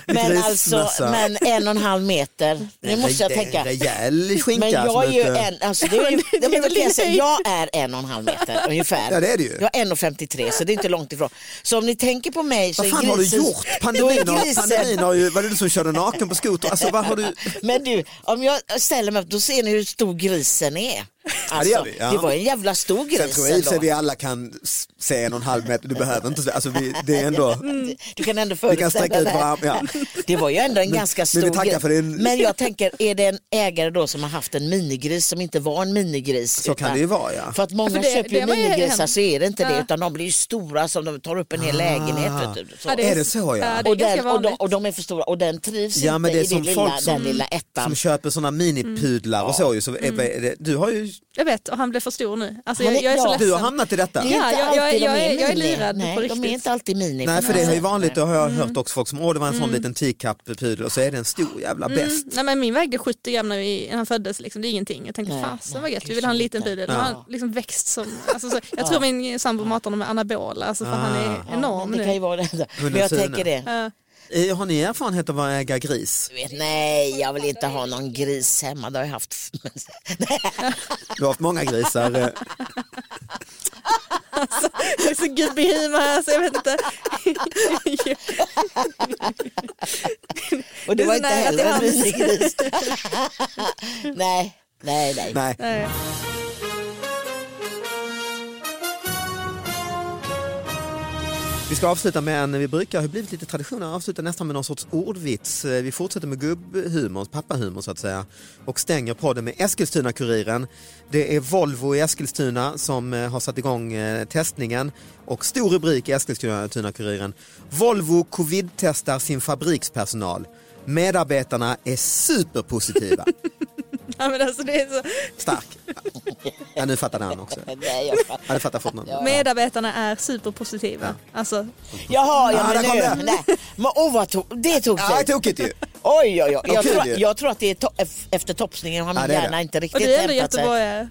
Speaker 3: men alltså,
Speaker 2: Grismössa.
Speaker 3: men en och en halv meter. Nu måste jag
Speaker 2: Det är en
Speaker 3: tänka.
Speaker 2: Rejäl skinka.
Speaker 3: Men
Speaker 2: som eh,
Speaker 3: jag är ju
Speaker 2: inte-
Speaker 3: en, alltså det är ju,
Speaker 4: det är
Speaker 3: ja, men då
Speaker 4: väl
Speaker 3: kan jag,
Speaker 4: din
Speaker 3: säga,
Speaker 4: höjd.
Speaker 3: jag är en och en halv meter ungefär.
Speaker 2: Ja, det är det ju.
Speaker 3: Jag är 1,53 så det är inte långt ifrån. Så om ni tänker på mig så
Speaker 2: Vad
Speaker 3: är
Speaker 2: fan har du
Speaker 3: grisen-
Speaker 2: gjort?
Speaker 3: då är
Speaker 2: Pandemin har,
Speaker 3: grisen-
Speaker 2: pandemin har ju, var det du som körde naken på skoter? Alltså vad har du?
Speaker 3: Men du, om jag ställer mig upp då ser ni hur stor grisen är. Alltså,
Speaker 2: det gör vi, ja.
Speaker 3: det var en jävla stor
Speaker 2: Sen
Speaker 3: gris
Speaker 2: tror jag i och för sig
Speaker 3: ändå.
Speaker 2: vi alla kan s- se en och en halv meter, du behöver inte, alltså vi, det är ändå,
Speaker 3: Du kan ändå
Speaker 2: vi kan
Speaker 3: föreställa
Speaker 2: sträcka ut
Speaker 3: dig.
Speaker 2: våra arm- ja.
Speaker 3: Det var ju ändå en ganska stor
Speaker 2: vi tackar
Speaker 3: gris.
Speaker 2: för din-
Speaker 3: Men jag tänker, är det en ägare då som har haft en minigris som inte var en minigris?
Speaker 2: Så kan det ju vara ja.
Speaker 3: För att många
Speaker 4: För Alltså det-
Speaker 3: köper ju
Speaker 4: det var ju
Speaker 3: minigrisar
Speaker 4: hem-
Speaker 3: så är det inte det
Speaker 4: Ja.
Speaker 3: utan de blir ju stora som de tar upp en hel lägenhet. Vet du, så.
Speaker 2: Ah.
Speaker 4: Ja,
Speaker 2: Är det så, ja?
Speaker 4: det är
Speaker 3: och,
Speaker 4: ganska
Speaker 3: den, och, de,
Speaker 4: vanligt.
Speaker 3: och de är för stora och den trivs
Speaker 2: Ja,
Speaker 3: inte
Speaker 2: men det är
Speaker 3: i
Speaker 2: som
Speaker 3: den lilla,
Speaker 2: folk som-
Speaker 3: den lilla ettan.
Speaker 2: Som köper sådana minipudlar och så ju. Så
Speaker 3: Mm.
Speaker 2: är, är det, du har ju
Speaker 4: Jag vet, och han blev för stor nu. Alltså,
Speaker 3: Han
Speaker 4: jag,
Speaker 3: är-
Speaker 4: jag är så
Speaker 3: ja.
Speaker 4: ledsen.
Speaker 2: du har hamnat i detta.
Speaker 3: Det är
Speaker 4: Ja,
Speaker 3: inte
Speaker 4: jag- jag-
Speaker 3: alltid de
Speaker 4: jag är- jag är
Speaker 3: mini.
Speaker 4: lurad på
Speaker 3: Nej, De
Speaker 4: riktigt.
Speaker 3: är inte alltid
Speaker 2: Nej
Speaker 3: mini.
Speaker 2: för
Speaker 3: på något
Speaker 2: det är ju
Speaker 3: sätt.
Speaker 2: vanligt, och har jag
Speaker 3: Mm.
Speaker 2: hört också folk som, åh det var en sån liten teacup-pudel och så är det en stor jävla
Speaker 3: Mm.
Speaker 2: bäst.
Speaker 4: Nej, men min vägde 70 gram när, vi, när han föddes, liksom, det är ingenting. Jag tänkte
Speaker 3: Nej,
Speaker 4: fasen
Speaker 3: nej,
Speaker 4: vad gött, vi
Speaker 3: gud,
Speaker 4: vill ha en
Speaker 3: så
Speaker 4: liten
Speaker 3: liten.
Speaker 4: pudel. Ja. Han
Speaker 2: Ja.
Speaker 4: har liksom växt som, alltså, så, jag tror min sambo matar honom med anabola, alltså, för
Speaker 2: Ah.
Speaker 4: han är
Speaker 3: Ja,
Speaker 4: enorm
Speaker 3: men det
Speaker 4: nu.
Speaker 3: kan ju vara det. Men
Speaker 2: Hundens
Speaker 3: jag
Speaker 2: syne.
Speaker 3: tänker det.
Speaker 4: Ja.
Speaker 2: Eh, Har ni erfarenhet av att äga gris?
Speaker 3: Du vet, nej, jag vill inte ha någon gris hemma. Det har jag haft.
Speaker 2: Du har haft många grisar. eh.
Speaker 4: Det är så gubbig humor här så jag vet inte.
Speaker 3: Och det,
Speaker 4: är
Speaker 3: var
Speaker 4: så
Speaker 3: inte
Speaker 4: nära
Speaker 3: heller
Speaker 4: till
Speaker 3: en
Speaker 4: hands.
Speaker 3: minigris. nej, nej, nej.
Speaker 2: Nej.
Speaker 4: Nej.
Speaker 2: Vi ska avsluta med en, vi brukar ha blivit lite tradition att avsluta nästan med någon sorts ordvits. Eh, Vi fortsätter med gubbhumorn, pappahumorn så att säga. Och stänger podden med Eskilstuna-Kuriren. Det är Volvo i Eskilstuna som eh, har satt igång eh, testningen. Och stor rubrik i Eskilstuna-Kuriren. Volvo covid-testar sin fabrikspersonal. Medarbetarna är superpositiva.
Speaker 4: Ja, men alltså det är så.
Speaker 2: Stark. Ja, nu fattade han också.
Speaker 3: Nej, jag fattar.
Speaker 2: Ja, det fattar fort någon. Ja.
Speaker 4: Medarbetarna är superpositiva. Alltså,
Speaker 3: Jaha, ja,
Speaker 2: Ja,
Speaker 3: men
Speaker 2: där kom
Speaker 3: nu.
Speaker 2: den.
Speaker 3: Nej. Men, oh, vad to- det tog
Speaker 2: Ja, det är
Speaker 3: sig.
Speaker 2: tokigt ju.
Speaker 3: Oj, oj, oj.
Speaker 2: De
Speaker 3: Jag,
Speaker 2: kul
Speaker 3: tror,
Speaker 2: ju.
Speaker 3: jag tror att det är to- ef- efter topsningen har min
Speaker 2: Ja, det är det.
Speaker 3: hjärna inte
Speaker 4: och
Speaker 3: riktigt
Speaker 4: du är ändå
Speaker 3: hämtat sig.
Speaker 4: göteborgare.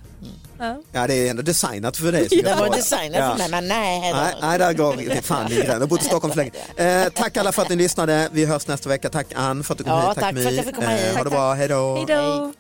Speaker 4: Ja.
Speaker 2: Ja, det är ändå designat för dig. som
Speaker 4: Ja.
Speaker 3: Det var
Speaker 2: göteborgare.
Speaker 3: designat för mig, men nej. då.
Speaker 2: Nej, nej, där går vi. Fan, det är gräns. Jag har bott i Stockholm för länge. Eh, tack alla för att ni lyssnade. Vi hörs nästa vecka. Tack Ann för att du kom
Speaker 3: Ja,
Speaker 2: hit.
Speaker 3: tack för att jag
Speaker 2: My.
Speaker 3: fick komma hit.
Speaker 2: Eh, ha det
Speaker 4: Tack,
Speaker 2: bra. Hej då.
Speaker 4: Hej då.